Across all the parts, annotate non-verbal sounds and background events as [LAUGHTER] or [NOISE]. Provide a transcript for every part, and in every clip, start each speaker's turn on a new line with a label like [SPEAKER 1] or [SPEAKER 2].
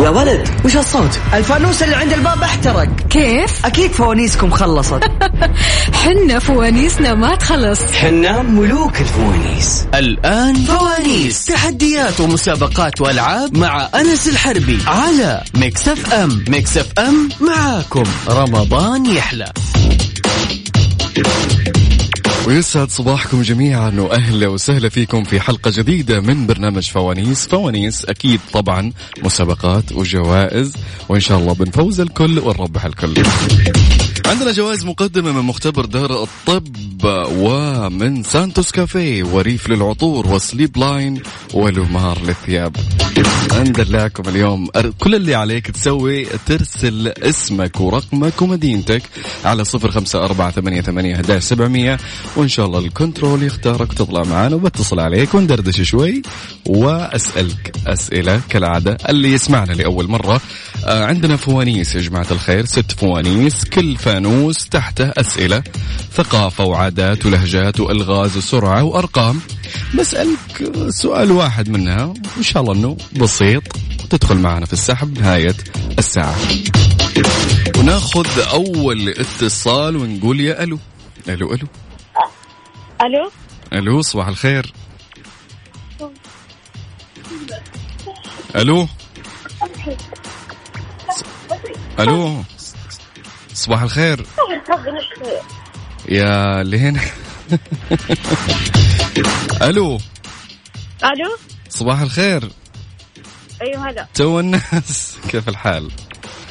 [SPEAKER 1] يا ولد وش هالصوت
[SPEAKER 2] الفانوس اللي عند الباب احترق
[SPEAKER 3] كيف؟
[SPEAKER 2] اكيد فوانيسكم [LAUGHS] خلصت
[SPEAKER 3] حنا فوانيسنا ما تخلص
[SPEAKER 1] حنا ملوك الفوانيس
[SPEAKER 4] الآن فوانيس تحديات ومسابقات وألعاب مع أنس الحربي على مكسف أم مكسف أم معاكم رمضان يحلى
[SPEAKER 5] ويسعد صباحكم جميعا واهلا وسهلا فيكم في حلقه جديده من برنامج فوانيس، فوانيس اكيد طبعا مسابقات وجوائز وان شاء الله بنفوز الكل ونربح الكل. عندنا جوائز مقدمة من مختبر دار الطب ومن سانتوس كافيه وريف للعطور وسليب لاين ولومار للثياب ندلعكم اليوم أر- كل اللي عليك تسوي ترسل اسمك ورقمك ومدينتك على صفر خمسة أربعة ثمانية ثمانية سبعمية وإن شاء الله الكنترول يختارك وتطلع معنا وبتصل عليك وندردش شوي وأسألك أسئلة كالعادة اللي يسمعنا لأول مرة آه، عندنا فوانيس يا جماعة الخير ست فوانيس كل فانوس تحته أسئلة ثقافة وعادات ولهجات وألغاز وسرعة وأرقام بسألك سؤال واحد منها وإن شاء الله أنه بسيط وتدخل معنا في السحب نهاية الساعة وناخذ أول اتصال ونقول يا ألو ألو ألو
[SPEAKER 6] الو
[SPEAKER 5] ألو صباح الخير ألو ألو صباح الخير يا لين [LAUGHS] ألو
[SPEAKER 6] الو
[SPEAKER 5] صباح الخير
[SPEAKER 6] ايوه هلا
[SPEAKER 5] تو الناس كيف الحال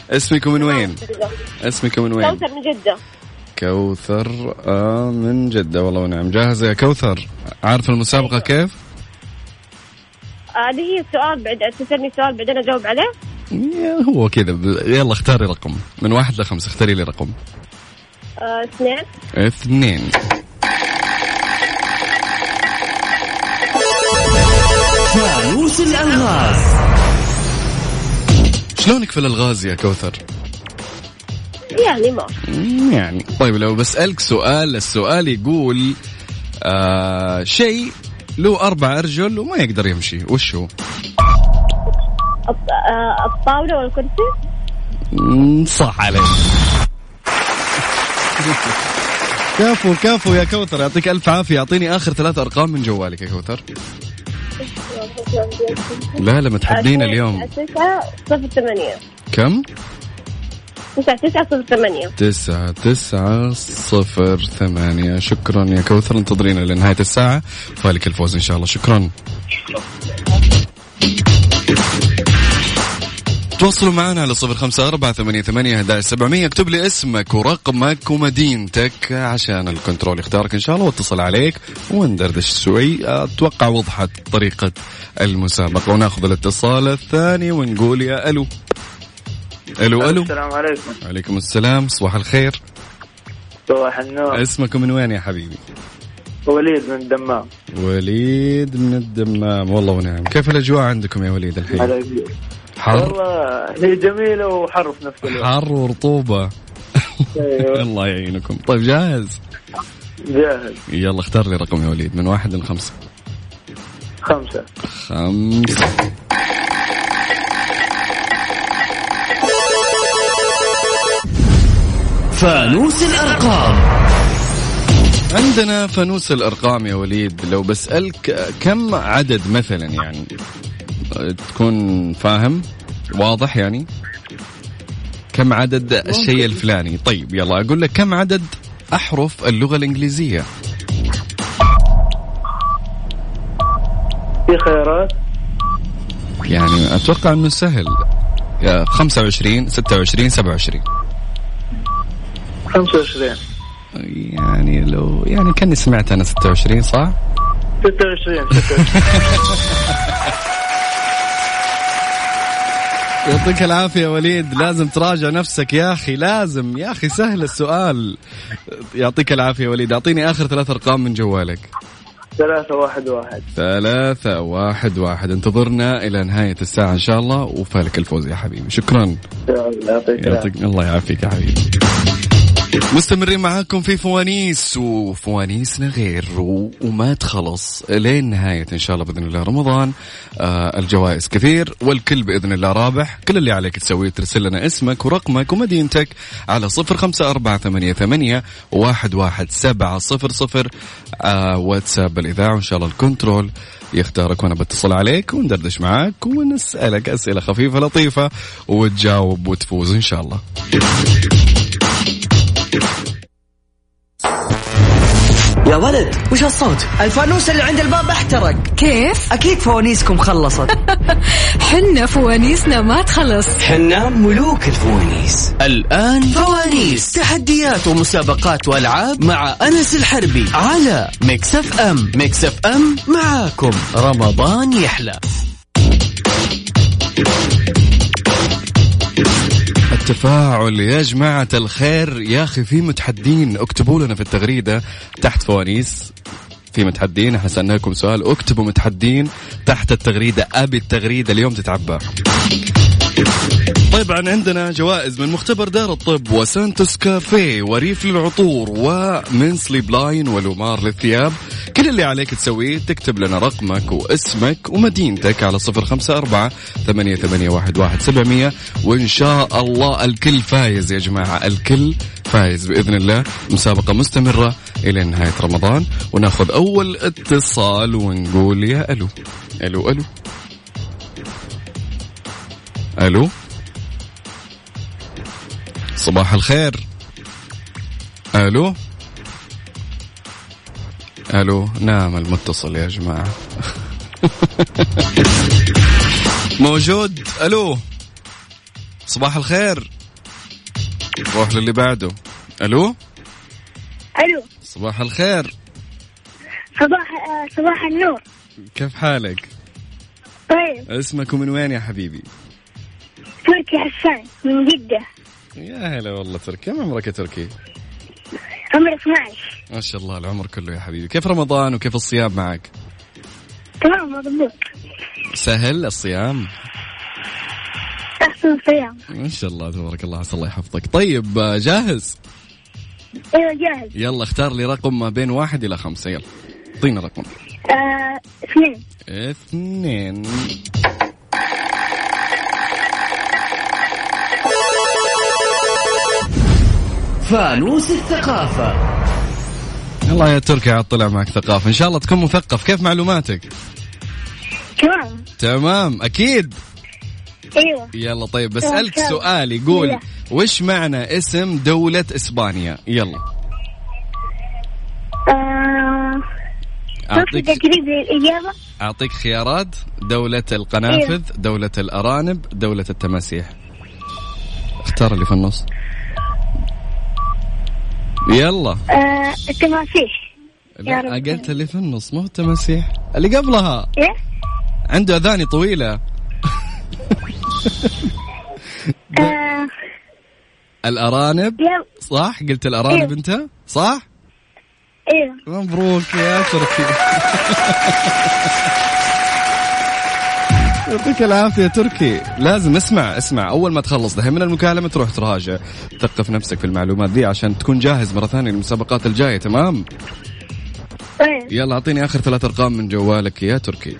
[SPEAKER 5] اسمكم من وين اسمكم من وين
[SPEAKER 6] كوثر من جده
[SPEAKER 5] كوثر آه، من جدة والله ونعم جاهزة يا كوثر عارف المسابقة كيف
[SPEAKER 6] آه، اللي هي السؤال بعد تسالني سؤال بعدين اجاوب عليه
[SPEAKER 5] يا هو كذا ب- يلا اختاري رقم من واحد لخمسة اختاري لي رقم
[SPEAKER 6] آه، اثنين
[SPEAKER 5] اثنين
[SPEAKER 1] فانوس الالغاز
[SPEAKER 5] شلونك في الالغاز يا كوثر؟
[SPEAKER 6] يعني ما
[SPEAKER 5] مم، يعني طيب لو بسألك سؤال السؤال يقول آه شيء له أربع أرجل وما يقدر يمشي وش هو؟
[SPEAKER 6] الط- آه، الطاوله والكرسي
[SPEAKER 5] مم، صح عليك كفو كفو يا كوثر يعطيك ألف عافية أعطيني آخر ثلاثة أرقام من جوالك يا كوثر لا لا متحدين اليوم
[SPEAKER 6] آه، تسعة صفر ثمانية
[SPEAKER 5] كم؟
[SPEAKER 6] تسعة تسعة صفر ثمانية
[SPEAKER 5] تسعة تسعة صفر ثمانية شكرا يا كوثر انتظرينا لنهاية الساعة فالك الفوز إن شاء الله شكرا تواصلوا معنا على صفر خمسة أربعة ثمانية ثمانية سبعمية اكتب لي اسمك ورقمك ومدينتك عشان الكنترول يختارك إن شاء الله واتصل عليك وندردش شوي أتوقع وضحت طريقة المسابقة وناخذ الاتصال الثاني ونقول يا ألو ألو ألو
[SPEAKER 7] السلام عليكم
[SPEAKER 5] عليكم السلام صباح الخير
[SPEAKER 7] صباح النور
[SPEAKER 5] اسمك من وين يا حبيبي
[SPEAKER 7] وليد من الدمام
[SPEAKER 5] وليد من الدمام والله ونعم كيف الاجواء عندكم يا وليد الحين
[SPEAKER 7] هلا بيك.
[SPEAKER 5] حر
[SPEAKER 7] والله هي جميلة وحر في نفس الوقت
[SPEAKER 5] حر ورطوبة
[SPEAKER 7] أيوة.
[SPEAKER 5] الله يعينكم طيب جاهز
[SPEAKER 7] جاهز
[SPEAKER 5] يلا اختار لي رقم يا وليد من واحد لخمسة
[SPEAKER 7] خمسة
[SPEAKER 5] خمسة
[SPEAKER 1] فانوس الارقام
[SPEAKER 5] عندنا فانوس الأرقام يا وليد لو بسألك كم عدد مثلا يعني تكون فاهم واضح يعني كم عدد الشيء الفلاني طيب يلا أقول لك كم عدد أحرف اللغة الإنجليزية
[SPEAKER 7] في خيارات
[SPEAKER 5] يعني أتوقع أنه سهل يا 25 26 27
[SPEAKER 7] 25
[SPEAKER 5] يعني لو يعني كاني سمعت أنا 26 صح؟
[SPEAKER 7] 26 [LAUGHS]
[SPEAKER 5] يعطيك العافية يا وليد لازم تراجع نفسك يا أخي لازم يا أخي سهل السؤال يعطيك العافية يا وليد أعطيني آخر ثلاث أرقام من جوالك
[SPEAKER 7] 3 1 1
[SPEAKER 5] ثلاثة واحد واحد انتظرنا إلى نهاية الساعة إن شاء الله وفالك الفوز يا حبيبي شكرا
[SPEAKER 7] يعطيك العافية
[SPEAKER 5] يعطيك الله يعافيك يا حبيبي طيب، مستمرين معاكم في فوانيس وفوانيسنا غير و- وما تخلص لين نهاية إن شاء الله بإذن الله رمضان آه الجوائز كثير والكل بإذن الله رابح كل اللي عليك تسويه ترسل لنا اسمك ورقمك ومدينتك على صفر خمسة أربعة ثمانية, ثمانية واحد, واحد سبعة صفر صفر آه واتساب الإذاعة وإن شاء الله الكنترول يختارك وأنا بتصل عليك وندردش معاك ونسألك أسئلة خفيفة لطيفة وتجاوب وتفوز إن شاء الله
[SPEAKER 2] يا ولد وش هالصوت الفانوس اللي عند الباب احترق
[SPEAKER 3] كيف
[SPEAKER 2] اكيد فوانيسكم [LAUGHS] خلصت
[SPEAKER 3] حنا فوانيسنا ما تخلص
[SPEAKER 1] حنا ملوك الفوانيس
[SPEAKER 4] الآن فوانيس تحديات ومسابقات وألعاب مع أنس الحربي على مكسف أم مكسف أم معاكم رمضان يحلى
[SPEAKER 5] التفاعل يا جماعة الخير يا أخي في متحدين اكتبوا لنا في التغريدة تحت فوانيس في متحدين احنا سألنا لكم سؤال اكتبوا متحدين تحت التغريدة أبي التغريدة اليوم تتعبى طبعا طيب، عندنا جوائز من مختبر دار الطب وسانتوس كافيه وريف للعطور ومن سليب لاين ولومار للثياب كل اللي عليك تسويه تكتب لنا رقمك واسمك ومدينتك على صفر خمسة أربعة ثمانية, ثمانية واحد, واحد سبعمية وإن شاء الله الكل فايز يا جماعة الكل فايز بإذن الله مسابقة مستمرة إلى نهاية رمضان وناخذ أول اتصال ونقول يا ألو ألو ألو ألو صباح الخير الو الو نام نعم، المتصل يا جماعه [LAUGHS] موجود الو صباح الخير روح للي بعده الو
[SPEAKER 6] الو
[SPEAKER 5] صباح الخير
[SPEAKER 6] صباح آه، صباح النور
[SPEAKER 5] كيف حالك
[SPEAKER 6] طيب
[SPEAKER 5] اسمك ومن وين يا حبيبي
[SPEAKER 6] تركي حسان من جدة
[SPEAKER 5] يا هلا والله تركي كم عمرك يا تركي
[SPEAKER 6] عمري 12
[SPEAKER 5] ما شاء الله العمر كله يا حبيبي كيف رمضان وكيف الصيام معك
[SPEAKER 6] تمام مضبوط
[SPEAKER 5] سهل الصيام
[SPEAKER 6] أحسن صيام
[SPEAKER 5] ما شاء الله تبارك الله عسى الله يحفظك طيب آه، جاهز
[SPEAKER 6] أيوة جاهز
[SPEAKER 5] يلا اختار لي رقم ما بين واحد إلى خمسة يلا اعطينا رقم
[SPEAKER 6] آه، اثنين
[SPEAKER 5] اثنين
[SPEAKER 1] فانوس الثقافة
[SPEAKER 5] الله يا تركي عاد طلع معك ثقافة إن شاء الله تكون مثقف كيف معلوماتك
[SPEAKER 6] تمام
[SPEAKER 5] تمام أكيد
[SPEAKER 6] أيوة
[SPEAKER 5] يلا طيب بسألك
[SPEAKER 6] تمام.
[SPEAKER 5] سؤال يقول
[SPEAKER 6] يلا.
[SPEAKER 5] وش معنى اسم دولة إسبانيا يلا
[SPEAKER 6] آه، ما في
[SPEAKER 5] أعطيك
[SPEAKER 6] تقريب للإجابة
[SPEAKER 5] أعطيك خيارات دولة
[SPEAKER 6] إيه.
[SPEAKER 5] القنافذ دولة الأرانب دولة التماسيح اختار اللي في النص يلا
[SPEAKER 6] آه، التماسيح يا
[SPEAKER 5] لا
[SPEAKER 6] رب.
[SPEAKER 5] قلت اللي في النص مو التماسيح اللي قبلها
[SPEAKER 6] إيه
[SPEAKER 5] عنده اذاني
[SPEAKER 6] [LAUGHS]
[SPEAKER 5] طويله
[SPEAKER 6] آه،
[SPEAKER 5] الارانب
[SPEAKER 6] يلا
[SPEAKER 5] صح قلت
[SPEAKER 6] إيه.
[SPEAKER 5] الارانب انت صح
[SPEAKER 6] أيوة
[SPEAKER 5] مبروك يا تركي [LAUGHS] يعطيك العافية تركي لازم اسمع اسمع أول ما تخلص دحين من المكالمة تروح تراجع ثقف نفسك في المعلومات دي عشان تكون جاهز مرة ثانية للمسابقات الجاية تمام
[SPEAKER 6] طيب
[SPEAKER 5] يلا أعطيني آخر ثلاث أرقام من جوالك يا تركي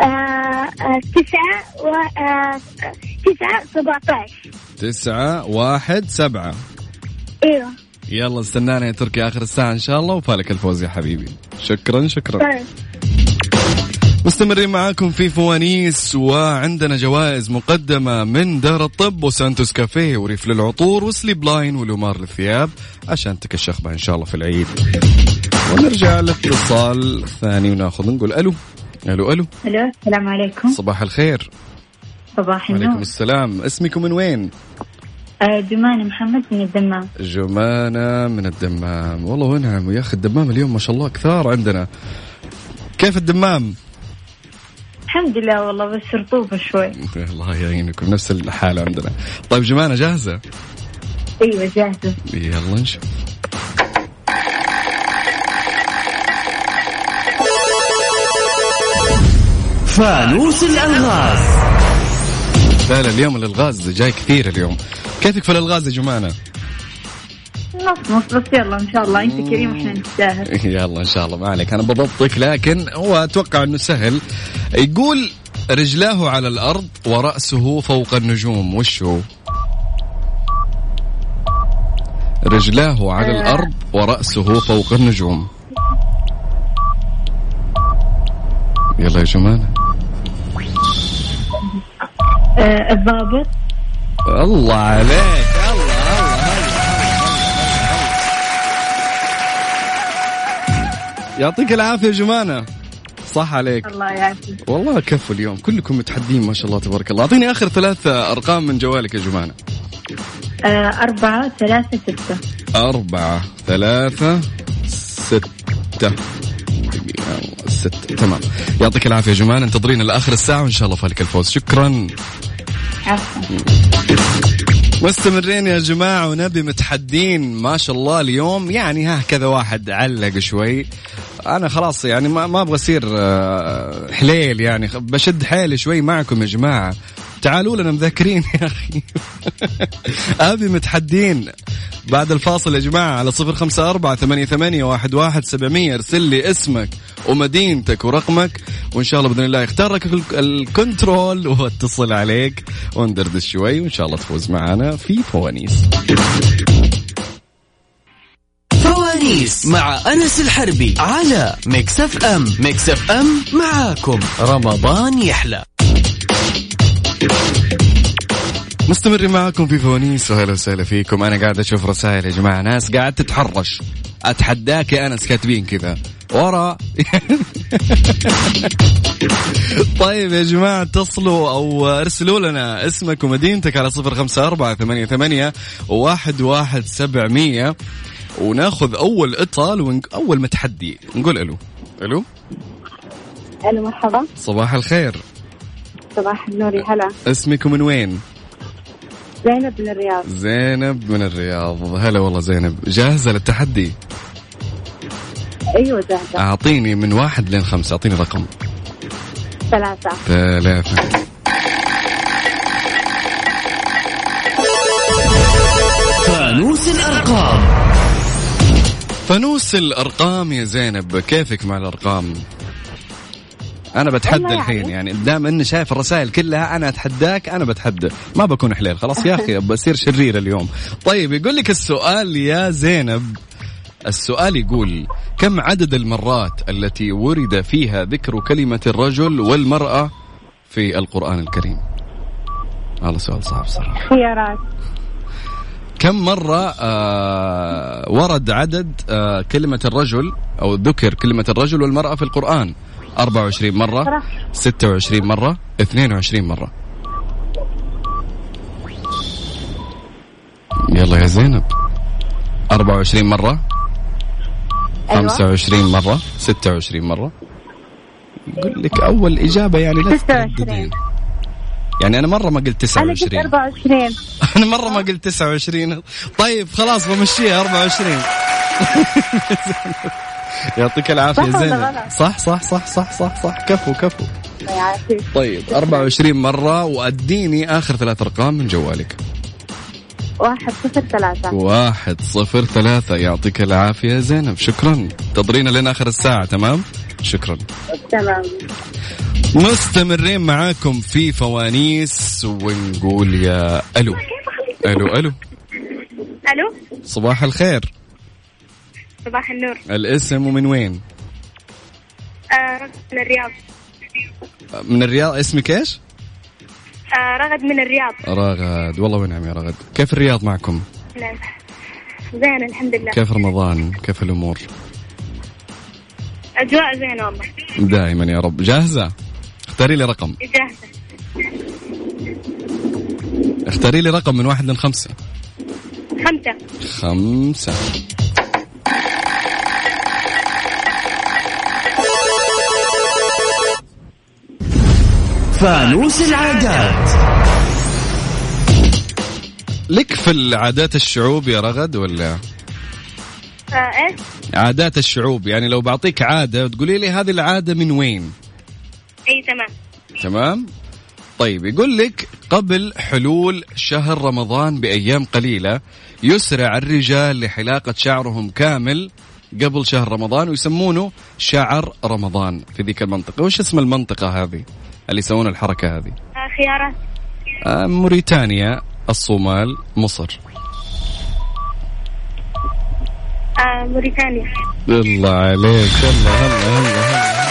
[SPEAKER 6] آه، آه، تسعة و آه، تسعة 17
[SPEAKER 5] تسعة واحد سبعة
[SPEAKER 6] أيوة
[SPEAKER 5] يلا استنانا يا تركي آخر الساعة إن شاء الله وفالك الفوز يا حبيبي شكرا شكرا
[SPEAKER 6] طيب
[SPEAKER 5] مستمرين معاكم في فوانيس وعندنا جوائز مقدمة من دار الطب وسانتوس كافيه وريف للعطور وسليب لاين ولومار للثياب عشان تكشخ بها إن شاء الله في العيد ونرجع لاتصال ثاني وناخذ نقول ألو ألو ألو
[SPEAKER 8] الو السلام عليكم
[SPEAKER 5] صباح الخير
[SPEAKER 8] صباح
[SPEAKER 5] وعليكم
[SPEAKER 8] النور
[SPEAKER 5] السلام اسمك من وين؟
[SPEAKER 8] آه، جمان محمد من الدمام
[SPEAKER 5] جمانة من الدمام والله ونعم يا أخي الدمام اليوم ما شاء الله كثار عندنا كيف الدمام؟ [LAUGHS]
[SPEAKER 8] الحمد لله والله بس رطوبة شوي
[SPEAKER 5] الله يعينكم نفس الحالة عندنا طيب جمانة جاهزة؟
[SPEAKER 8] ايوه جاهزة
[SPEAKER 5] يلا نشوف
[SPEAKER 1] فانوس الألغاز
[SPEAKER 5] لا لا اليوم الالغاز جاي كثير اليوم كيفك في الالغاز يا جمانه
[SPEAKER 8] نص نص بس يلا ان شاء الله انت كريم احنا نستاهل
[SPEAKER 5] [LAUGHS] يلا ان شاء الله ما عليك انا بضبطك لكن هو اتوقع انه سهل يقول رجلاه على الارض وراسه فوق النجوم وش هو رجلاه على الارض وراسه فوق النجوم يلا يا جمانه
[SPEAKER 8] آه الضابط
[SPEAKER 5] الله عليك الله الله الله يعطيك العافية يا جمانة صح عليك
[SPEAKER 8] الله يعافيك
[SPEAKER 5] والله كفو اليوم كلكم متحدين ما شاء الله تبارك الله أعطيني آخر ثلاث أرقام من جوالك يا جمانة
[SPEAKER 8] آه أربعة ثلاثة ستة
[SPEAKER 5] أربعة ثلاثة ستة دقيقة، ستة تمام يعطيك العافية يا جمانة انتظرينا لآخر الساعة وإن شاء الله فالك الفوز شكرا
[SPEAKER 8] عفوا
[SPEAKER 5] مستمرين يا جماعة ونبي متحدين ما شاء الله اليوم يعني ها كذا واحد علق شوي أنا خلاص يعني ما, ما أبغى أصير آه، حليل يعني خ- بشد حيلي شوي معكم يا جماعة تعالوا لنا مذاكرين يا أخي أبي متحدين بعد الفاصل يا جماعة على صفر خمسة أربعة ثمانية, ثمانية واحد, واحد سبعمية ارسل لي اسمك ومدينتك ورقمك وإن شاء الله بإذن الله يختار لك ال- الكنترول [LAUGHS] واتصل عليك وندردش شوي وإن شاء الله تفوز معنا في فوانيس
[SPEAKER 1] فوانيس
[SPEAKER 4] مع أنس الحربي على ميكس اف ام ميكس اف ام معاكم رمضان يحلى
[SPEAKER 5] مستمرين معاكم في فوانيس وهلا وسهلا فيكم أنا قاعد أشوف رسائل يا جماعة ناس قاعد تتحرش أتحداك يا أنس كاتبين كذا ورا [LAUGHS] طيب يا جماعة اتصلوا أو ارسلوا لنا اسمك ومدينتك على صفر خمسة أربعة ثمانية, ثمانية واحد, واحد سبعمية وناخذ أول إطال وأول متحدي نقول ألو ألو
[SPEAKER 6] الو مرحبا
[SPEAKER 5] صباح الخير
[SPEAKER 6] صباح النور يا هلا
[SPEAKER 5] اسمك من وين؟
[SPEAKER 6] زينب من الرياض
[SPEAKER 5] زينب من الرياض هلا والله زينب جاهزة للتحدي
[SPEAKER 6] ايوه زهدة
[SPEAKER 5] أعطيني من واحد لين خمسة أعطيني رقم
[SPEAKER 6] ثلاثة
[SPEAKER 5] ثلاثة
[SPEAKER 1] فانوس الأرقام
[SPEAKER 5] فانوس الأرقام يا زينب كيفك مع الأرقام أنا بتحدى
[SPEAKER 6] والله
[SPEAKER 5] الحين يعني دام إني شايف الرسائل كلها أنا أتحداك أنا بتحدى ما بكون حليل خلاص يا أخي بصير شرير اليوم طيب يقول لك السؤال يا زينب السؤال يقول كم عدد المرات التي ورد فيها ذكر كلمة الرجل والمرأة في القرآن الكريم هذا سؤال صعب صراحة
[SPEAKER 6] خيارات
[SPEAKER 5] كم مرة آه ورد عدد آه كلمة الرجل أو ذكر كلمة الرجل والمرأة في القرآن 24 مرة 26 مرة 22 مرة يلا يا زينب 24 مرة أيوة. 25 مرة 26 مرة يقول لك أول إجابة يعني لا
[SPEAKER 6] 26.
[SPEAKER 5] تترددين يعني أنا مرة ما قلت
[SPEAKER 6] انا قلت
[SPEAKER 5] 29
[SPEAKER 6] 24
[SPEAKER 5] [LAUGHS] انا مره ما قلت 29 طيب خلاص بمشيها 24 [LAUGHS] يعطيك العافيه
[SPEAKER 6] صح ولا
[SPEAKER 5] زينب
[SPEAKER 6] غلط؟
[SPEAKER 5] صح صح صح صح صح صح كفو كفو
[SPEAKER 6] الله يعافيك
[SPEAKER 5] طيب 24 مره واديني اخر ثلاث ارقام من جوالك
[SPEAKER 6] واحد صفر ثلاثة
[SPEAKER 5] واحد صفر ثلاثة يعطيك العافية يا زينب شكرا تضرينا لين آخر الساعة تمام شكرا
[SPEAKER 6] تمام
[SPEAKER 5] مستمرين معاكم في فوانيس ونقول يا ألو ألو ألو
[SPEAKER 6] الو
[SPEAKER 5] صباح الخير
[SPEAKER 6] صباح النور
[SPEAKER 5] الاسم ومن وين؟
[SPEAKER 6] آه رغد من الرياض
[SPEAKER 5] من الرياض اسمك ايش؟
[SPEAKER 6] آه رغد من الرياض
[SPEAKER 5] رغد والله ونعم يا رغد كيف الرياض معكم؟
[SPEAKER 6] نعم. زين الحمد لله
[SPEAKER 5] كيف رمضان؟ كيف الامور؟
[SPEAKER 6] اجواء زينة والله
[SPEAKER 5] دائما يا رب جاهزة؟ اختاري لي رقم
[SPEAKER 6] جاهزة
[SPEAKER 5] اختاري لي رقم من واحد لخمسة
[SPEAKER 6] خمسة
[SPEAKER 5] خمسة
[SPEAKER 1] فانوس العادات
[SPEAKER 5] لك في العادات الشعوب يا رغد ولا
[SPEAKER 6] آه ايش
[SPEAKER 5] عادات الشعوب يعني لو بعطيك عادة تقولي لي هذه العادة من وين
[SPEAKER 6] اي تمام
[SPEAKER 5] تمام؟ طيب يقول لك قبل حلول شهر رمضان بأيام قليلة يسرع الرجال لحلاقة شعرهم كامل قبل شهر رمضان ويسمونه شعر رمضان في ذيك المنطقة وش اسم المنطقة هذه اللي يسوون الحركة هذه
[SPEAKER 6] آه، خيارات
[SPEAKER 5] آه، موريتانيا الصومال مصر
[SPEAKER 6] آه، موريتانيا
[SPEAKER 5] الله عليك هلا هلا هلا هلا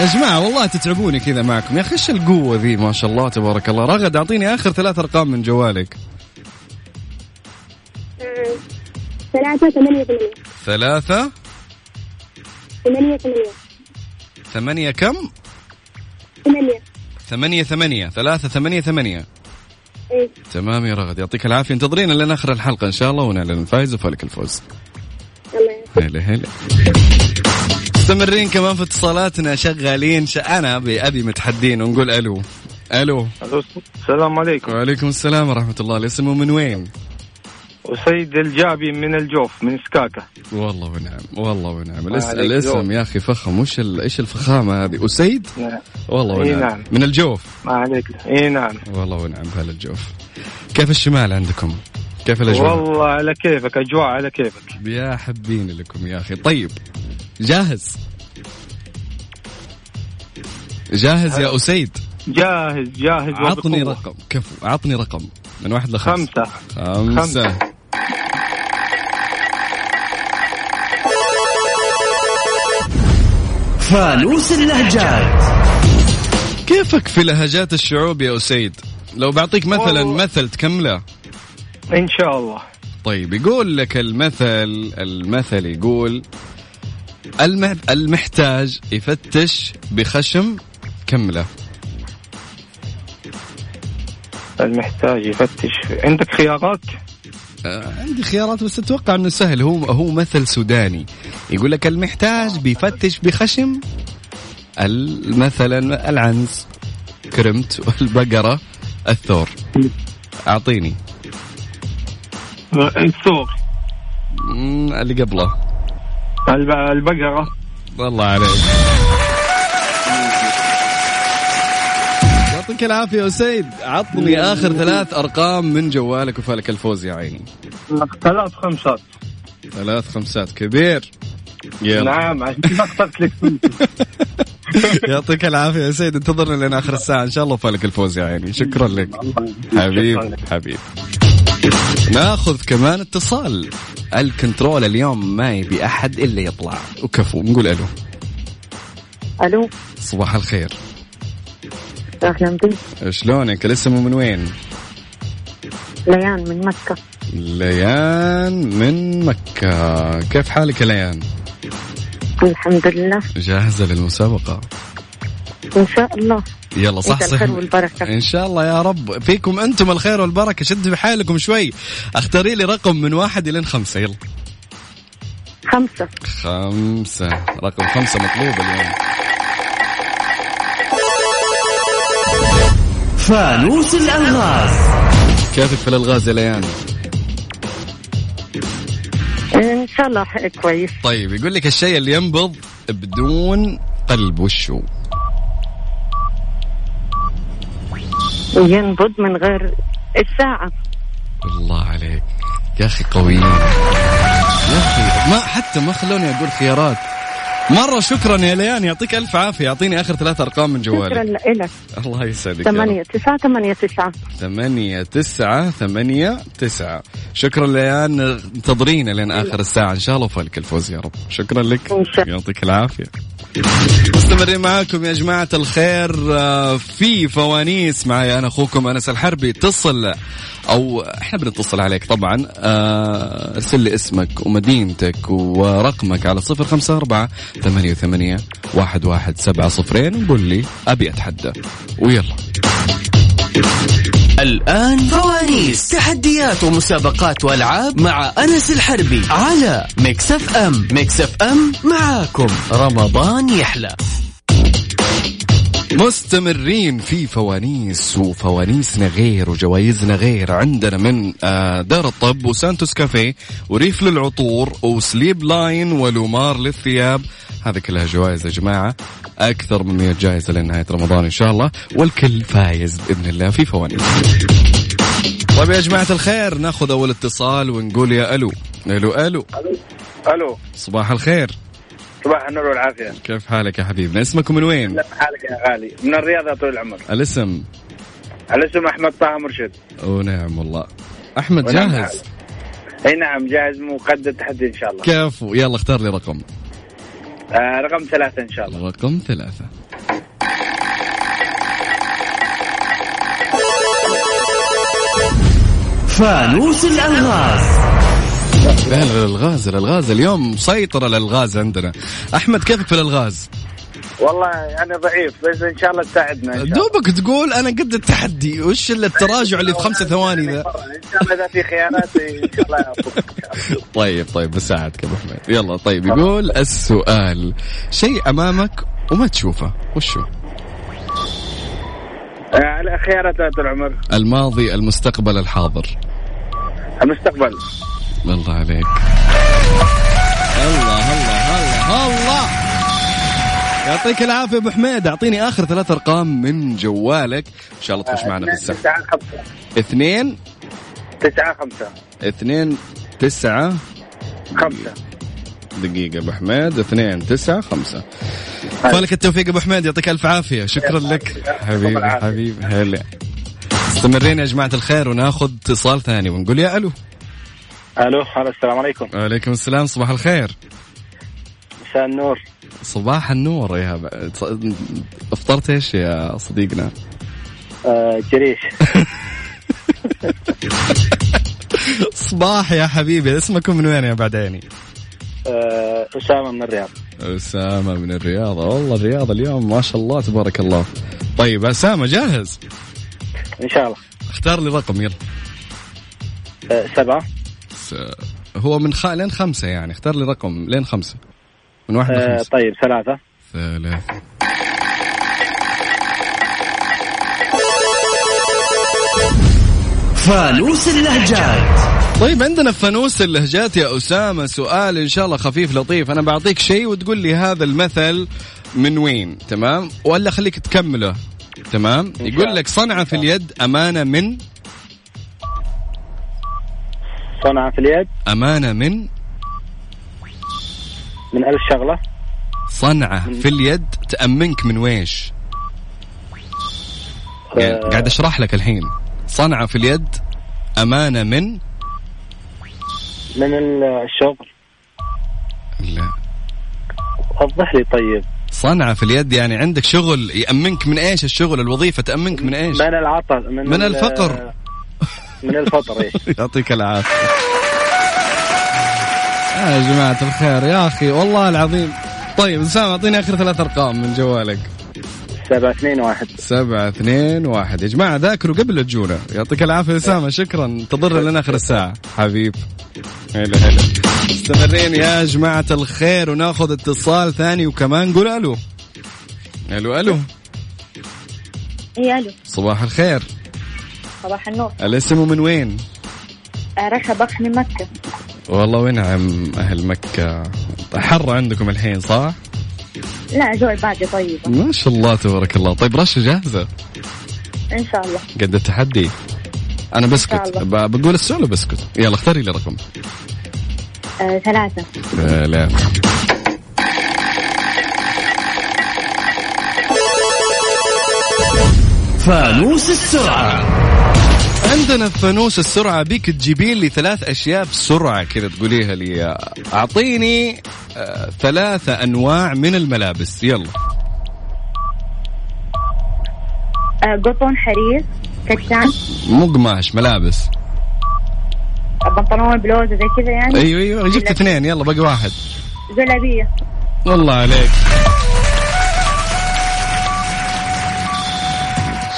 [SPEAKER 5] يا جماعة والله تتعبوني كذا معكم يا أخي إيش القوة ذي ما شاء الله تبارك الله رغد أعطيني آخر ثلاث أرقام من جوالك
[SPEAKER 6] آه، ثلاثة ثمانية ثمانية
[SPEAKER 5] ثلاثة
[SPEAKER 6] ثمانية ثمانية
[SPEAKER 5] ثمانية كم
[SPEAKER 6] ثمانية
[SPEAKER 5] ثمانية ثمانية ثلاثة ثمانية ثمانية
[SPEAKER 6] إيه.
[SPEAKER 5] تمام يا رغد يعطيك العافية انتظرينا لين آخر الحلقة إن شاء الله ونعلن الفائز وفالك الفوز
[SPEAKER 6] الله يعافيك.
[SPEAKER 5] هلا هلا مستمرين كمان في اتصالاتنا شغالين ش... أنا أبي أبي متحدين ونقول ألو ألو
[SPEAKER 7] السلام عليكم
[SPEAKER 5] وعليكم السلام ورحمة الله الاسم من وين؟
[SPEAKER 7] وسيد الجابي من الجوف من سكاكة
[SPEAKER 5] والله ونعم والله ونعم الاس...
[SPEAKER 7] عليك
[SPEAKER 5] الاسم
[SPEAKER 7] ذوق.
[SPEAKER 5] يا أخي فخم وش ال... إيش الفخامة هذه أسيد؟
[SPEAKER 7] نعم.
[SPEAKER 5] والله
[SPEAKER 7] إي
[SPEAKER 5] ونعم
[SPEAKER 7] نعم.
[SPEAKER 5] من الجوف
[SPEAKER 7] ما عليك اي نعم
[SPEAKER 5] والله ونعم بهلا الجوف كيف الشمال عندكم؟ كيف الأجواء؟
[SPEAKER 7] والله على كيفك اجواء على كيفك
[SPEAKER 5] يا حبين لكم يا أخي طيب جاهز جاهز يا أسيد
[SPEAKER 7] جاهز جاهز
[SPEAKER 5] عطني
[SPEAKER 7] وبقوة.
[SPEAKER 5] رقم كفو عطني رقم من واحد لخمسة
[SPEAKER 7] خمسة
[SPEAKER 5] خمسة
[SPEAKER 7] خمسة.
[SPEAKER 1] فانوس اللهجات
[SPEAKER 5] كيفك في لهجات الشعوب يا أسيد لو بعطيك مثلا مثل تكمله
[SPEAKER 7] ان شاء الله
[SPEAKER 5] طيب يقول لك المثل المثل يقول الم- المحتاج يفتش بخشم كمله
[SPEAKER 7] المحتاج يفتش عندك خيارات
[SPEAKER 5] آه، عندي خيارات بس اتوقع انه سهل هو هو مثل سوداني يقول لك المحتاج بيفتش بخشم ال- مثلا العنز كرمت والبقره الثور اعطيني
[SPEAKER 7] السوق
[SPEAKER 5] مم، اللي قبله
[SPEAKER 7] الب- البقرة
[SPEAKER 5] الله عليك يعطيك العافية يا أسيد عطني آخر ثلاث أرقام من جوالك وفالك الفوز يا عيني
[SPEAKER 7] ثلاث خمسات
[SPEAKER 5] ثلاث خمسات كبير يلا
[SPEAKER 7] [LAUGHS] نعم عشان كذا اخترت لك خمسة.
[SPEAKER 5] [LAUGHS] يعطيك العافية يا سيد انتظرنا لين آخر الساعة إن شاء الله وفالك الفوز يا عيني شكرا لك حبيب حبيب ناخذ كمان اتصال الكنترول اليوم ما يبي أحد إلا يطلع وكفو نقول ألو
[SPEAKER 9] الو
[SPEAKER 5] صباح الخير
[SPEAKER 9] يا اخي انت
[SPEAKER 5] شلونك الاسم ومن وين؟
[SPEAKER 9] ليان من مكه
[SPEAKER 5] ليان من مكة كيف حالك يا ليان؟
[SPEAKER 9] الحمد لله
[SPEAKER 5] جاهزة للمسابقة
[SPEAKER 9] ان شاء الله
[SPEAKER 5] يلا صح صح
[SPEAKER 9] الخير والبركة.
[SPEAKER 5] إن شاء الله يا رب فيكم أنتم الخير والبركة شدوا حالكم شوي اختاري لي رقم من واحد إلى خمسة يلا
[SPEAKER 9] خمسه
[SPEAKER 5] خمسة رقم خمسة مطلوب اليوم
[SPEAKER 1] فانوس الألغاز
[SPEAKER 5] كيفك في الألغاز يا ليان؟
[SPEAKER 9] ان شاء الله حق كويس
[SPEAKER 5] طيب يقول لك الشيء اللي ينبض بدون قلب وشو
[SPEAKER 9] ينبض من غير الساعه
[SPEAKER 5] الله عليك يا اخي قويين يا اخي ما حتى ما خلوني اقول خيارات مرة شكرا يا ليان يعطيك الف عافية يعطيني اخر ثلاث ارقام من
[SPEAKER 9] شكرا
[SPEAKER 5] جوالك
[SPEAKER 9] لك
[SPEAKER 5] الله يسعدك يا رب.
[SPEAKER 9] 8 9 8 9
[SPEAKER 5] ثمانية تسعة ثمانية تسعة شكرا ليان انتظرينا لين آخر الساعة إن شاء الله وفالك الفوز يا رب شكرا لك
[SPEAKER 9] إن شاء الله.
[SPEAKER 5] يعطيك العافية مستمرين معاكم يا جماعة الخير آه، في فوانيس معي أنا أخوكم أنس الحربي اتصل أو إحنا بنتصل عليك طبعا آه، ارسل لي اسمك ومدينتك ورقمك على صفر خمسة أربعة ثمانية وثمانية واحد واحد سبعة صفرين وقول لي أبي أتحدى ويلا
[SPEAKER 4] الآن فوانيس تحديات ومسابقات وألعاب مع أنس الحربي على ميكس أف أم ميكس أف أم معاكم رمضان يحلى
[SPEAKER 5] مستمرين في فوانيس وفوانيسنا غير وجوائزنا غير عندنا من آه، دار الطب وسانتوس كافيه وريف للعطور وسليب لاين ولومار للثياب هذه كلها جوائز يا جماعة أكثر من 100 جائزة لنهاية رمضان إن شاء الله والكل فايز بإذن الله في فوانيس طيب يا جماعة الخير ناخذ أول اتصال ونقول يا ألو ألو ألو
[SPEAKER 7] الو
[SPEAKER 5] صباح الخير
[SPEAKER 7] صباح النور والعافيه
[SPEAKER 5] كيف حالك يا حبيبنا اسمك من وين؟
[SPEAKER 7] كيف حالك يا غالي من الرياض يا طويل العمر
[SPEAKER 5] الاسم
[SPEAKER 7] الاسم احمد طه مرشد
[SPEAKER 5] ونعم نعم والله أحمد
[SPEAKER 7] ونعم
[SPEAKER 5] جاهز
[SPEAKER 7] اي نعم جاهز مقدم التحدي ان شاء الله
[SPEAKER 5] كفو يلا اختار لي رقم
[SPEAKER 7] آه رقم ثلاثه ان شاء الله
[SPEAKER 5] رقم ثلاثة
[SPEAKER 1] فانوس الألغاز
[SPEAKER 5] لا لا، الالغاز الالغاز اليوم مسيطرة الالغاز عندنا احمد كيفك في الالغاز؟
[SPEAKER 7] والله انا ضعيف بس ان شاء الله تساعدنا ان شاء الله
[SPEAKER 5] دوبك تقول انا قد التحدي وش اللي التراجع اللي في خمسة ثواني ذا
[SPEAKER 7] ان شاء الله اذا في خيارات ان شاء الله أفوز.
[SPEAKER 5] [LAUGHS] طيب طيب بساعدك يا ابو حميد يلا طيب يقول السؤال شيء امامك وما تشوفه وش هو؟
[SPEAKER 7] آه خيارات يا طويل العمر
[SPEAKER 5] الماضي المستقبل الحاضر
[SPEAKER 7] المستقبل
[SPEAKER 5] الله عليك الله الله الله الله يعطيك العافية أبو حميد أعطيني آخر ثلاث أرقام من جوالك إن شاء الله تخش معنا في السحب
[SPEAKER 7] تسعة خمسة
[SPEAKER 5] اثنين
[SPEAKER 7] تسعة خمسة
[SPEAKER 5] اثنين تسعة
[SPEAKER 7] خمسة
[SPEAKER 5] دقيقة أبو حميد اثنين تسعة خمسة فالك التوفيق أبو حميد يعطيك ألف عافية شكرا لك حبيبي
[SPEAKER 7] العافية.
[SPEAKER 5] حبيبي هلا مستمرين يا جماعة الخير وناخذ اتصال ثاني ونقول يا ألو
[SPEAKER 7] الو هلا السلام عليكم
[SPEAKER 5] وعليكم السلام صباح الخير
[SPEAKER 7] مساء النور
[SPEAKER 5] صباح النور يا ب... افطرت ايش يا صديقنا؟
[SPEAKER 7] آه جريش
[SPEAKER 5] صباح يا حبيبي اسمكم من وين يا بعد عيني؟
[SPEAKER 7] آه اسامه من الرياض
[SPEAKER 5] اسامه من الرياض والله الرياض اليوم ما شاء الله تبارك الله. طيب اسامه جاهز؟
[SPEAKER 7] ان شاء الله
[SPEAKER 5] اختار لي رقم يلا.
[SPEAKER 7] آه سبعه
[SPEAKER 5] س... آه، هو من خ... لين خمسه يعني اختار لي رقم لين خمسه. من واحد
[SPEAKER 7] آه
[SPEAKER 5] لخمسه.
[SPEAKER 7] طيب ثلاثه
[SPEAKER 5] ثلاث
[SPEAKER 1] فانوس اللهجات
[SPEAKER 5] طيب عندنا في فانوس اللهجات يا أسامة سؤال إن شاء الله خفيف لطيف أنا بعطيك شيء وتقول لي هذا المثل من وين تمام ولا خليك تكمله تمام يقول لك صنعة في اليد أمانة من
[SPEAKER 7] صنعة في اليد
[SPEAKER 5] أمانة من
[SPEAKER 7] من ألف شغلة
[SPEAKER 5] صنعة في اليد تأمنك من ويش يعني
[SPEAKER 7] آه،
[SPEAKER 5] قاعد أشرح لك الحين صنعة في اليد أمانة من
[SPEAKER 7] من ال- الشغل
[SPEAKER 5] لا
[SPEAKER 7] وضح لي طيب
[SPEAKER 5] صنعة في اليد يعني عندك شغل يأمنك من إيش الشغل الوظيفة تأمنك من إيش
[SPEAKER 7] من العطل من,
[SPEAKER 5] من
[SPEAKER 7] ال-
[SPEAKER 5] الفقر.
[SPEAKER 7] [LAUGHS] من الفقر إيه.
[SPEAKER 5] يعطيك العافية يا جماعة الخير يا أخي والله العظيم طيب أسامة أعطيني آخر ثلاث أرقام من جوالك
[SPEAKER 7] سبعة اثنين واحد
[SPEAKER 5] سبعة اثنين واحد يا جماعة ذاكروا قبل لا تجونا يعطيك العافية أسامة شكرا انتظرنا لنا آخر الساعة حبيب هلا هلا مستمرين يا جماعة الخير وناخذ اتصال ثاني وكمان قول ألو ألو ألو
[SPEAKER 6] يا الو
[SPEAKER 5] صباح الخير
[SPEAKER 6] صباح النور
[SPEAKER 5] الاسم من وين؟
[SPEAKER 6] رشا بخش من مكة
[SPEAKER 5] والله ونعم أهل مكة حر عندكم الحين صح؟
[SPEAKER 6] لا جوع باقي طيبة
[SPEAKER 5] ما شاء الله تبارك الله طيب رشا جاهزة
[SPEAKER 6] إن شاء الله
[SPEAKER 5] قد التحدي أنا بسكت
[SPEAKER 6] إن
[SPEAKER 5] ب- بقول السؤال وبسكت يلا اختاري لي رقم
[SPEAKER 6] آه ثلاثة
[SPEAKER 5] لا
[SPEAKER 1] فانوس السرعة
[SPEAKER 5] عندنا في فانوس السرعة بيك تجيبين لي ثلاث أشياء بسرعة كذا تقوليها لي أعطيني آه، ثلاثة أنواع من الملابس يلا
[SPEAKER 6] آه قطن حرير كتان
[SPEAKER 5] مو قماش ملابس
[SPEAKER 6] بنطلون بلوزة زي كذا يعني
[SPEAKER 5] أيوه أيوه جبت اثنين يلا باقي واحد
[SPEAKER 6] جلابية
[SPEAKER 5] والله عليك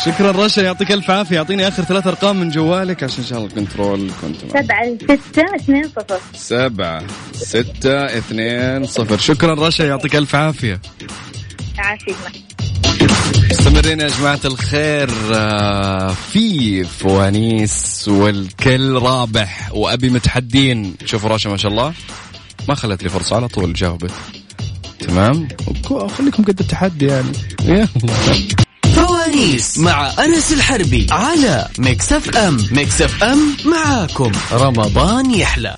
[SPEAKER 5] شكرا رشا يعطيك الف عافيه يعطيني اخر ثلاث ارقام من جوالك عشان ان شاء الله كنترول كنت معك.
[SPEAKER 6] سبعة ستة اثنين صفر
[SPEAKER 5] سبعة ستة اثنين صفر شكرا رشا يعطيك الف عافيه
[SPEAKER 6] عافية
[SPEAKER 5] مستمرين يا جماعة الخير آه، في فوانيس والكل رابح وأبي متحدين شوفوا راشا ما شاء الله ما خلت لي فرصة على طول جاوبت تمام وكو- خليكم قد التحدي يعني يلا.
[SPEAKER 4] فوانيس مع أنس الحربي على ميكس اف ام ميكس اف ام معاكم رمضان يحلى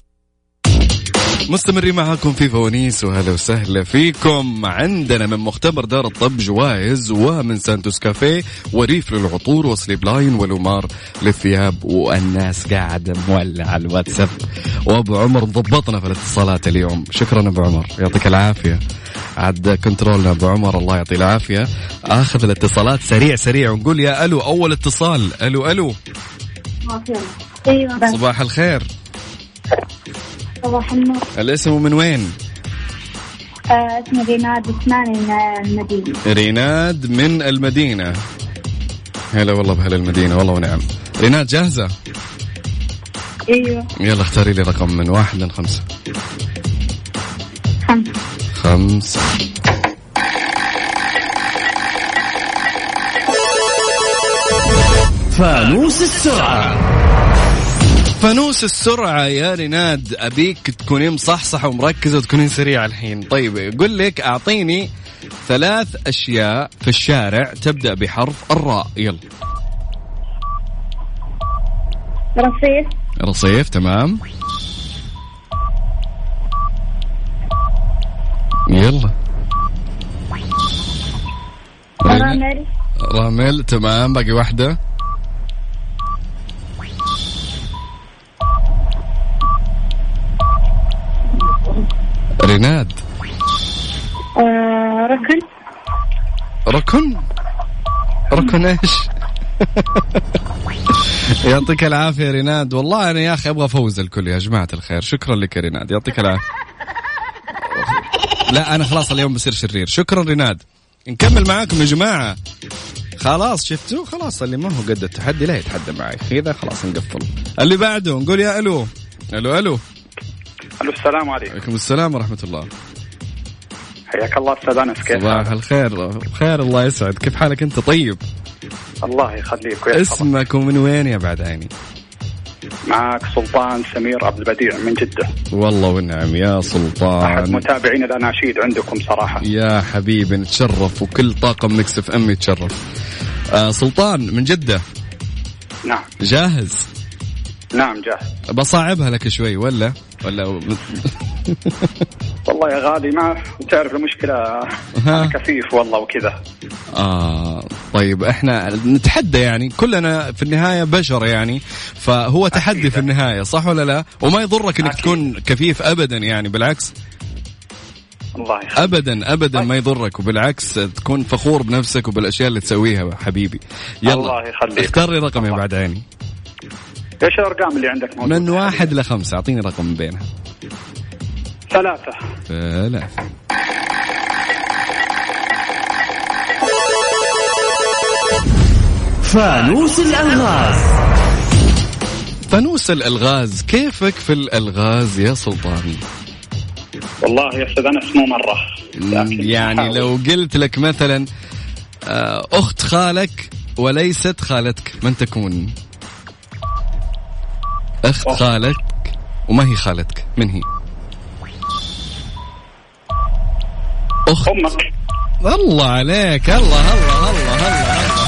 [SPEAKER 5] مستمرين معاكم في فوانيس وهلا وسهلا فيكم عندنا من مختبر دار الطب جوائز ومن سانتوس كافيه وريف للعطور وسليب لاين والومار للثياب والناس قاعدة مولعة على الواتساب وابو عمر مضبطنا في الاتصالات اليوم شكرا ابو عمر يعطيك العافية عاد كنترولنا ابو عمر الله يعطيه العافية اخذ الاتصالات سريع سريع ونقول يا الو اول اتصال الو الو
[SPEAKER 8] ايوه
[SPEAKER 5] صباح الخير
[SPEAKER 8] صباح النور
[SPEAKER 5] الاسم ومن وين؟
[SPEAKER 8] آه، اسمي ريناد عثمان من المدينة
[SPEAKER 5] ريناد من المدينة هلا والله بهلا المدينة والله ونعم ريناد جاهزة؟
[SPEAKER 8] ايوه
[SPEAKER 5] يلا اختاري لي رقم من واحد لخمسة
[SPEAKER 8] خمسة
[SPEAKER 5] خمسة
[SPEAKER 1] فانوس السرعة
[SPEAKER 5] فانوس السرعة يا ريناد أبيك تكونين مصحصحة ومركزة وتكونين سريعة الحين طيب يقول لك أعطيني ثلاث أشياء في الشارع تبدأ بحرف الراء يلا
[SPEAKER 8] رصيف
[SPEAKER 5] رصيف تمام يلا
[SPEAKER 8] رامل
[SPEAKER 5] رامل تمام باقي واحدة ريناد
[SPEAKER 8] e, آه، ركن
[SPEAKER 5] ركن ركن ايش [LAUGHS] يعطيك العافية يا ريناد والله أنا يا أخي أبغى أفوز الكل يا جماعة الخير شكرا لك يا ريناد يعطيك العافية لا أنا خلاص اليوم بصير شرير شكرا ريناد نكمل معاكم يا جماعة خلاص شفتوا خلاص اللي ما هو قد التحدي لا يتحدى معي كذا خلاص نقفل اللي بعده نقول يا ألو ألو ألو
[SPEAKER 7] الو السلام عليكم
[SPEAKER 5] عليكم السلام ورحمة الله
[SPEAKER 7] حياك الله استاذ انس كيف
[SPEAKER 5] صباح الخير بخير الله يسعد كيف حالك أنت طيب
[SPEAKER 7] الله يخليك ويحفظك
[SPEAKER 5] اسمك ومن وين يا بعد عيني
[SPEAKER 7] معك سلطان سمير عبد البديع من جده
[SPEAKER 5] والله والنعم يا
[SPEAKER 7] احد
[SPEAKER 5] سلطان
[SPEAKER 7] متابعين الاناشيد عندكم صراحه
[SPEAKER 5] يا حبيبي نتشرف وكل طاقم مكس اف ام يتشرف آه سلطان من جدة
[SPEAKER 7] نعم
[SPEAKER 5] جاهز
[SPEAKER 7] نعم جاهز
[SPEAKER 5] بصعبها لك شوي ولا ولا
[SPEAKER 7] والله يا غالي ما تعرف المشكله أنا كفيف والله وكذا
[SPEAKER 5] آه طيب احنا نتحدى يعني كلنا في النهاية بشر يعني فهو تحدي في النهاية صح ولا لا وما يضرك انك
[SPEAKER 7] أكيد.
[SPEAKER 5] تكون كفيف ابدا يعني بالعكس
[SPEAKER 7] الله يخليك
[SPEAKER 5] ابدا ابدا
[SPEAKER 7] طيب.
[SPEAKER 5] ما يضرك وبالعكس تكون فخور بنفسك وبالاشياء اللي تسويها حبيبي يلا
[SPEAKER 7] الله يخليك.
[SPEAKER 5] اختار لي رقم يا بعد عيني
[SPEAKER 7] ايش الارقام اللي عندك موجوده
[SPEAKER 5] من واحد لخمسة أعطيني رقم بينها
[SPEAKER 7] ثلاثه
[SPEAKER 5] ثلاثة
[SPEAKER 1] فانوس الألغاز
[SPEAKER 5] فانوس الألغاز كيفك في الألغاز يا سلطان
[SPEAKER 7] والله يا استاذ انس مو مره لكن
[SPEAKER 5] يعني
[SPEAKER 7] حاول.
[SPEAKER 5] لو قلت لك مثلا آه، أخت خالك وليست خالتك من تكون أخت
[SPEAKER 7] أخت.
[SPEAKER 5] خالك وما هي خالتك من هي أخت
[SPEAKER 7] امك
[SPEAKER 5] الله عليك الله الله الله الله الله, الله.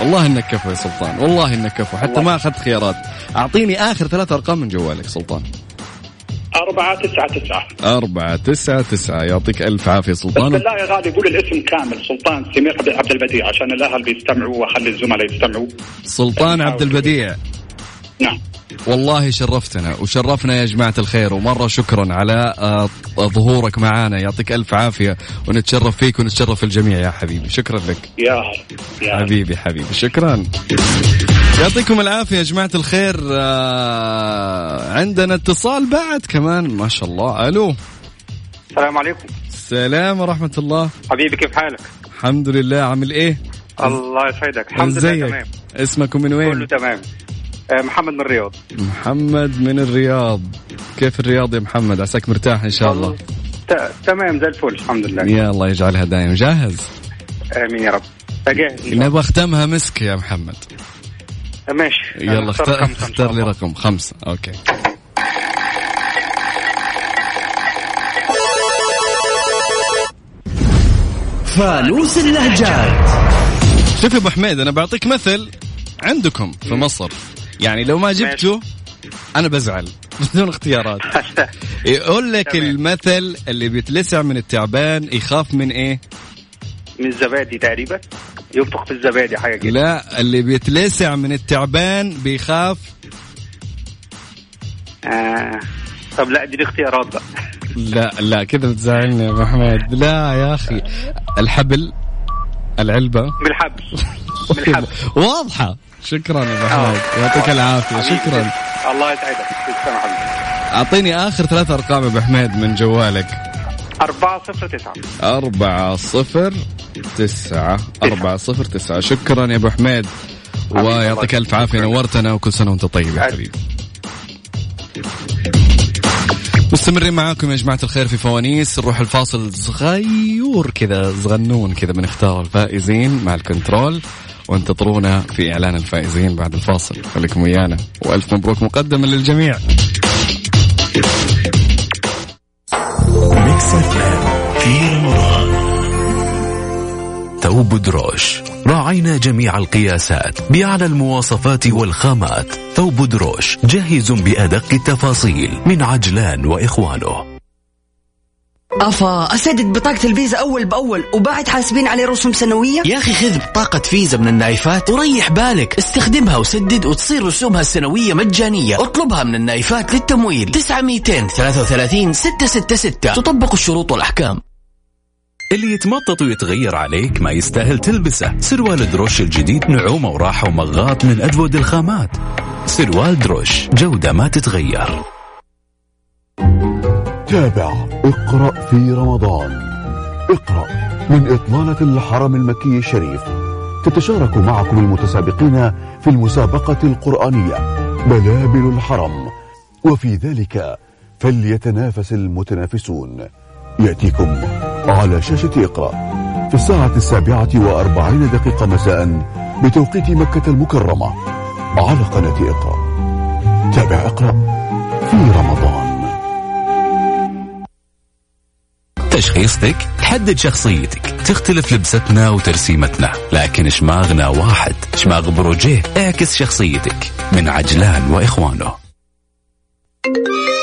[SPEAKER 5] والله انك كفو يا سلطان والله انك كفو حتى ما اخذت خيارات اعطيني اخر ثلاث ارقام من جوالك سلطان
[SPEAKER 7] أربعة تسعة تسعة
[SPEAKER 5] أربعة تسعة تسعة يعطيك ألف عافية
[SPEAKER 7] بس
[SPEAKER 5] سلطان
[SPEAKER 7] بالله يا غالي قول الاسم كامل سلطان سمير عبد- عبد البديع عشان الأهل بيستمعوا وأخلي الزملاء يستمعوا
[SPEAKER 5] سلطان عبد البديع
[SPEAKER 7] نعم
[SPEAKER 5] والله شرفتنا وشرفنا يا جماعة الخير ومرة شكرا على آه، ظهورك معنا يعطيك ألف عافية ونتشرف فيك ونتشرف الجميع يا حبيبي شكرا لك
[SPEAKER 7] يا هلا يا هلا.
[SPEAKER 5] حبيبي حبيبي شكرا يعطيكم العافية يا جماعة الخير آه، عندنا اتصال بعد كمان ما شاء الله ألو
[SPEAKER 10] السلام عليكم
[SPEAKER 5] السلام ورحمة الله
[SPEAKER 10] حبيبي كيف حالك؟
[SPEAKER 5] الحمد لله عامل إيه
[SPEAKER 10] الله يسعدك الحمد لله
[SPEAKER 5] إزيك؟
[SPEAKER 10] تمام
[SPEAKER 5] اسمك ومن
[SPEAKER 10] كله
[SPEAKER 5] وين
[SPEAKER 10] تمام آه، محمد من الرياض
[SPEAKER 5] محمد من الرياض كيف الرياض يا محمد عساك مرتاح إن شاء الله
[SPEAKER 10] ت- تمام زي الفل الحمد لله
[SPEAKER 5] يا الله يجعلها دايم جاهز
[SPEAKER 10] امين يا رب أجهز.
[SPEAKER 5] نبغى اختمها مسك يا محمد
[SPEAKER 10] ماشي
[SPEAKER 5] يلا
[SPEAKER 10] أنا
[SPEAKER 5] اخت-
[SPEAKER 10] اختار خمسة إن شاء
[SPEAKER 5] اختار لي
[SPEAKER 10] الله.
[SPEAKER 5] رقم خمسة اوكي
[SPEAKER 11] فانوس اللهجات
[SPEAKER 5] شوف يا ابو حميد انا بعطيك مثل عندكم في مصر يعني لو ما جبته انا بزعل [LAUGHS] بدون
[SPEAKER 10] [LAUGHS]
[SPEAKER 5] اختيارات يقول لك
[SPEAKER 10] تمام.
[SPEAKER 5] المثل اللي بيتلسع من التعبان يخاف من ايه؟
[SPEAKER 10] من الزبادي تقريبا ينفخ في الزبادي حاجه كده
[SPEAKER 5] لا اللي بيتلسع من التعبان بيخاف
[SPEAKER 10] آه. طب لا دي الاختيارات بقى [LAUGHS]
[SPEAKER 5] لا لا كذا بتزعلني يا ابو حميد لا يا اخي الحبل العلبه
[SPEAKER 10] بالحبل بالحبل
[SPEAKER 5] واضحه شكرا يا ابو
[SPEAKER 10] آه.
[SPEAKER 5] حميد يعطيك العافيه شكرا
[SPEAKER 10] الله يسعدك تسلم حبيبي
[SPEAKER 5] اعطيني اخر ثلاث ارقام يا ابو حميد من جوالك
[SPEAKER 10] 4 0 9
[SPEAKER 5] أربعة صفر تسعة أربعة صفر تسعة شكرا يا أبو حميد ويعطيك ألف عافية نورتنا وكل سنة وأنت طيب يا حبيبي مستمرين معاكم يا جماعة الخير في فوانيس نروح الفاصل صغير كذا صغنون كذا بنختار الفائزين مع الكنترول وانتظرونا في إعلان الفائزين بعد الفاصل خليكم ويانا وألف مبروك مقدما للجميع
[SPEAKER 11] ميكس اف ام في رمضان
[SPEAKER 4] ثوب دروش راعينا جميع القياسات بأعلى المواصفات والخامات ثوب دروش جاهز بأدق التفاصيل من عجلان وإخوانه
[SPEAKER 2] افا اسدد بطاقه الفيزا اول باول وبعد حاسبين عليه رسوم سنويه
[SPEAKER 11] يا أخي خذ بطاقة فيزا من النايفات وريح بالك استخدمها وسدد وتصير رسومها السنوية مجانية اطلبها من النايفات للتمويل 9233 666 تطبق الشروط والأحكام
[SPEAKER 4] اللي يتمطط ويتغير عليك ما يستاهل تلبسه سروال دروش الجديد نعومة وراحة ومغاط من أجود الخامات سروال دروش جودة ما تتغير
[SPEAKER 12] تابع اقرأ في رمضان اقرأ من إطلالة الحرم المكي الشريف تتشارك معكم المتسابقين في المسابقة القرآنية بلابل الحرم وفي ذلك فليتنافس المتنافسون يأتيكم على شاشة اقرأ في الساعة السابعة وأربعين دقيقة مساء بتوقيت مكة المكرمة على قناة اقرأ تابع اقرأ في رمضان
[SPEAKER 4] تشخيصتك تحدد شخصيتك تختلف لبستنا وترسيمتنا لكن شماغنا واحد شماغ بروجيه اعكس شخصيتك من عجلان وإخوانه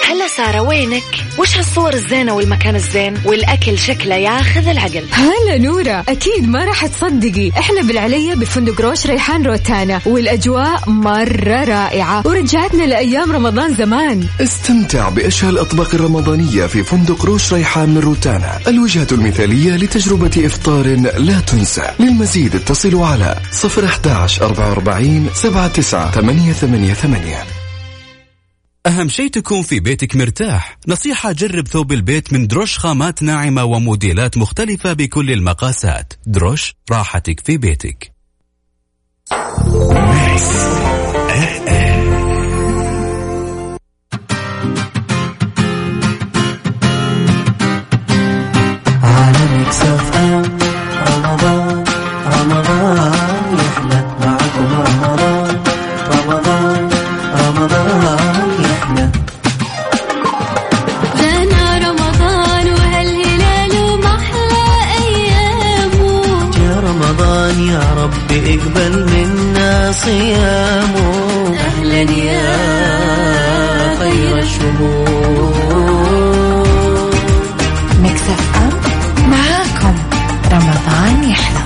[SPEAKER 13] هلا سارة وينك؟ وش هالصور الزينة والمكان الزين والأكل شكله ياخذ العقل
[SPEAKER 3] هلا نورة أكيد ما راح تصدقي إحنا بالعلية بفندق روش ريحان روتانا والأجواء مرة رائعة ورجعتنا لأيام رمضان زمان
[SPEAKER 14] استمتع بأشهى الأطباق الرمضانية في فندق روش ريحان من روتانا الوجهة المثالية لتجربة إفطار لا تنسى للمزيد اتصلوا على 011 44 79 888
[SPEAKER 4] أهم شيء تكون في بيتك مرتاح نصيحة جرب ثوب البيت من دروش خامات ناعمة وموديلات مختلفة بكل المقاسات دروش راحتك في بيتك
[SPEAKER 15] على ميكس اف ام رمضان رمضان يحلى معكم رمضان رمضان رمضان يحلى
[SPEAKER 16] جانا رمضان وهالهلال ومحلى أيامه
[SPEAKER 15] يا رمضان يا رب اقبل منا صيامه اهلا يا خير الشهور
[SPEAKER 17] ميكس اف ام معاكم رمضان يحلى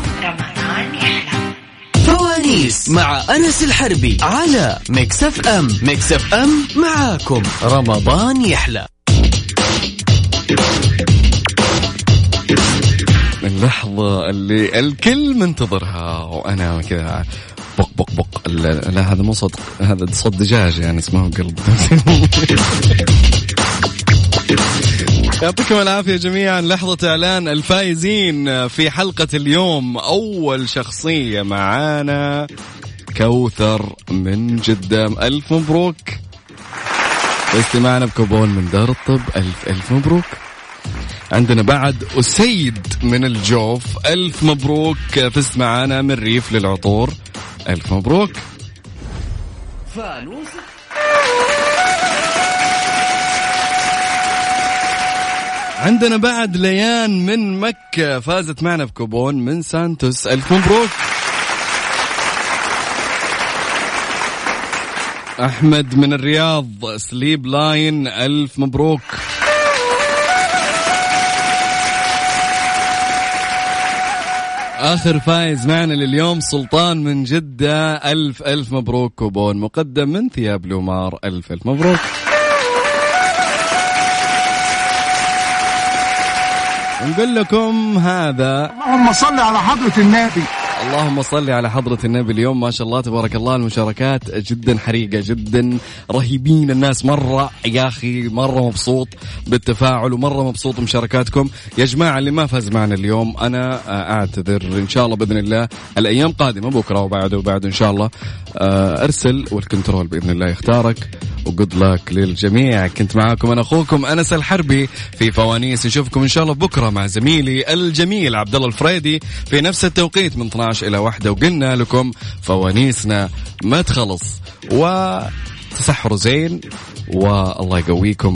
[SPEAKER 18] فوانيس مع أنس الحربي على مكسف أم مكسف أم معاكم رمضان يحلى
[SPEAKER 5] اللحظة اللي الكل منتظرها وأنا كذا بق بق بق لا لا، هذا مو صدق هذا صوت دجاج يعني اسمه قلب [LAUGHS] يعطيكم العافية جميعا لحظة إعلان الفائزين في حلقة اليوم أول شخصية معانا كوثر من جدة ألف مبروك استماعنا بكوبون من دار الطب ألف ألف مبروك عندنا بعد أسيد من الجوف ألف مبروك فزت معانا من ريف للعطور ألف مبروك
[SPEAKER 1] فانوس
[SPEAKER 5] عندنا بعد ليان من مكة فازت معنا بكوبون من سانتوس ألف مبروك أحمد من الرياض سليب لاين ألف مبروك آخر فايز معنا لليوم سلطان من جدة ألف ألف مبروك كوبون مقدم من ثياب لومار ألف ألف مبروك نقول لكم هذا
[SPEAKER 19] اللهم صل على حضرة النبي
[SPEAKER 5] اللهم صل على حضرة النبي اليوم ما شاء الله تبارك الله المشاركات جدا حريقة جدا رهيبين الناس مرة يا أخي مرة مبسوط بالتفاعل ومرة مبسوط بمشاركاتكم يا جماعة اللي ما فاز معنا اليوم أنا آه، أعتذر إن شاء الله بإذن الله الأيام قادمة بكرة وبعده وبعده إن شاء الله آه، أرسل والكنترول بإذن الله يختارك وجود لك للجميع كنت معاكم أنا أخوكم أنس الحربي في فوانيس نشوفكم إن شاء الله بكرة مع زميلي الجميل عبد الله الفريدي في نفس التوقيت من 12 إلى واحدة وقلنا لكم فوانيسنا ما تخلص وتسحروا زين والله يقويكم